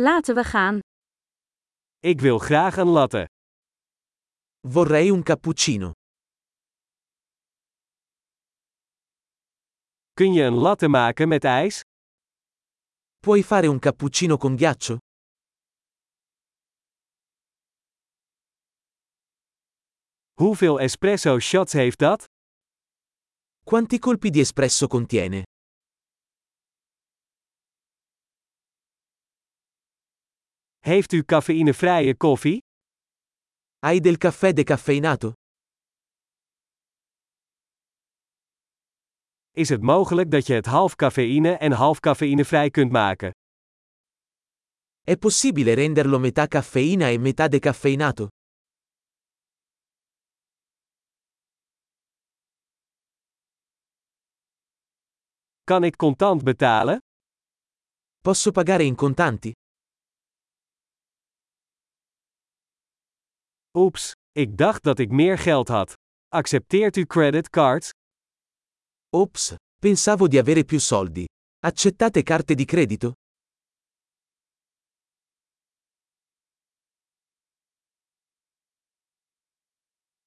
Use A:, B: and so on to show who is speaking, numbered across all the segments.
A: Laten we gaan.
B: Ik wil graag een latte.
C: Vorrei un cappuccino.
B: Kun je een latte maken met ijs?
C: Puoi fare un cappuccino con ghiaccio?
B: Hoeveel espresso shots heeft dat?
C: Quanti colpi di espresso contiene?
B: Heeft u cafeïnevrije koffie?
C: Hai del caffè decaffeinato?
B: Is het mogelijk dat je het half cafeïne en half cafeïnevrij kunt maken?
C: È possibile renderlo metà caffeina e metà decaffeinato?
B: Kan ik contant betalen?
C: Posso pagare in contanti?
B: Oeps, ik dacht dat ik meer geld had. Accepteert u creditcards?
C: Ops, pensavo di avere più soldi. Accettate carte di credito?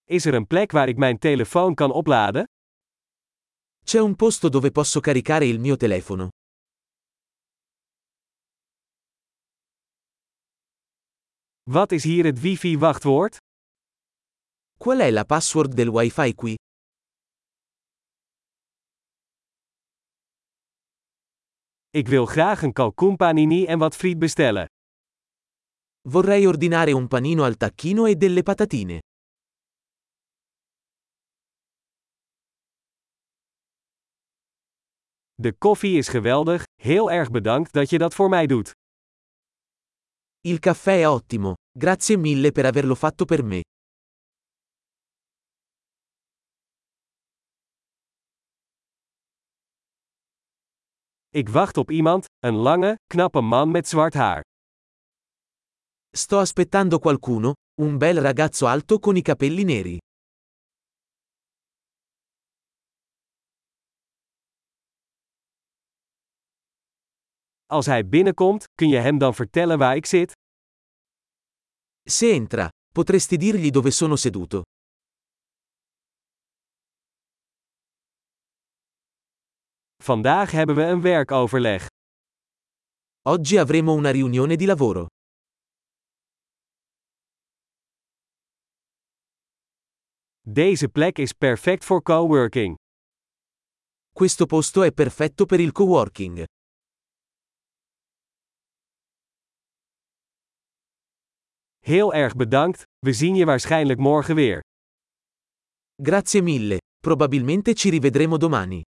B: Is er een plek waar ik mijn telefoon kan opladen?
C: C'è un posto dove posso caricare il mio telefono.
B: Wat is hier het wifi-wachtwoord?
C: Qual è la password del wifi qui?
B: Ik wil graag een kalkoenpanini en wat friet bestellen.
C: Vorrei ordinare un panino al tacchino e delle patatine.
B: De koffie is geweldig, heel erg bedankt dat je dat voor mij doet.
C: Il caffè è ottimo, grazie mille per averlo fatto per me.
B: Ik wacht op iemand, een lange, knappe man met zwart haar.
C: Sto aspettando qualcuno, un bel ragazzo alto con i capelli neri.
B: Als hij binnenkomt, kun je hem dan vertellen waar ik zit?
C: Se entra, potresti dirgli dove sono seduto.
B: Vandaag hebben we een werkoverleg.
C: Oggi avremo una riunione di lavoro.
B: Deze plek is perfect voor coworking.
C: Questo posto è perfetto per il coworking.
B: Heel erg bedankt, we zien je waarschijnlijk morgen weer.
C: Grazie mille, probabilmente ci rivedremo domani.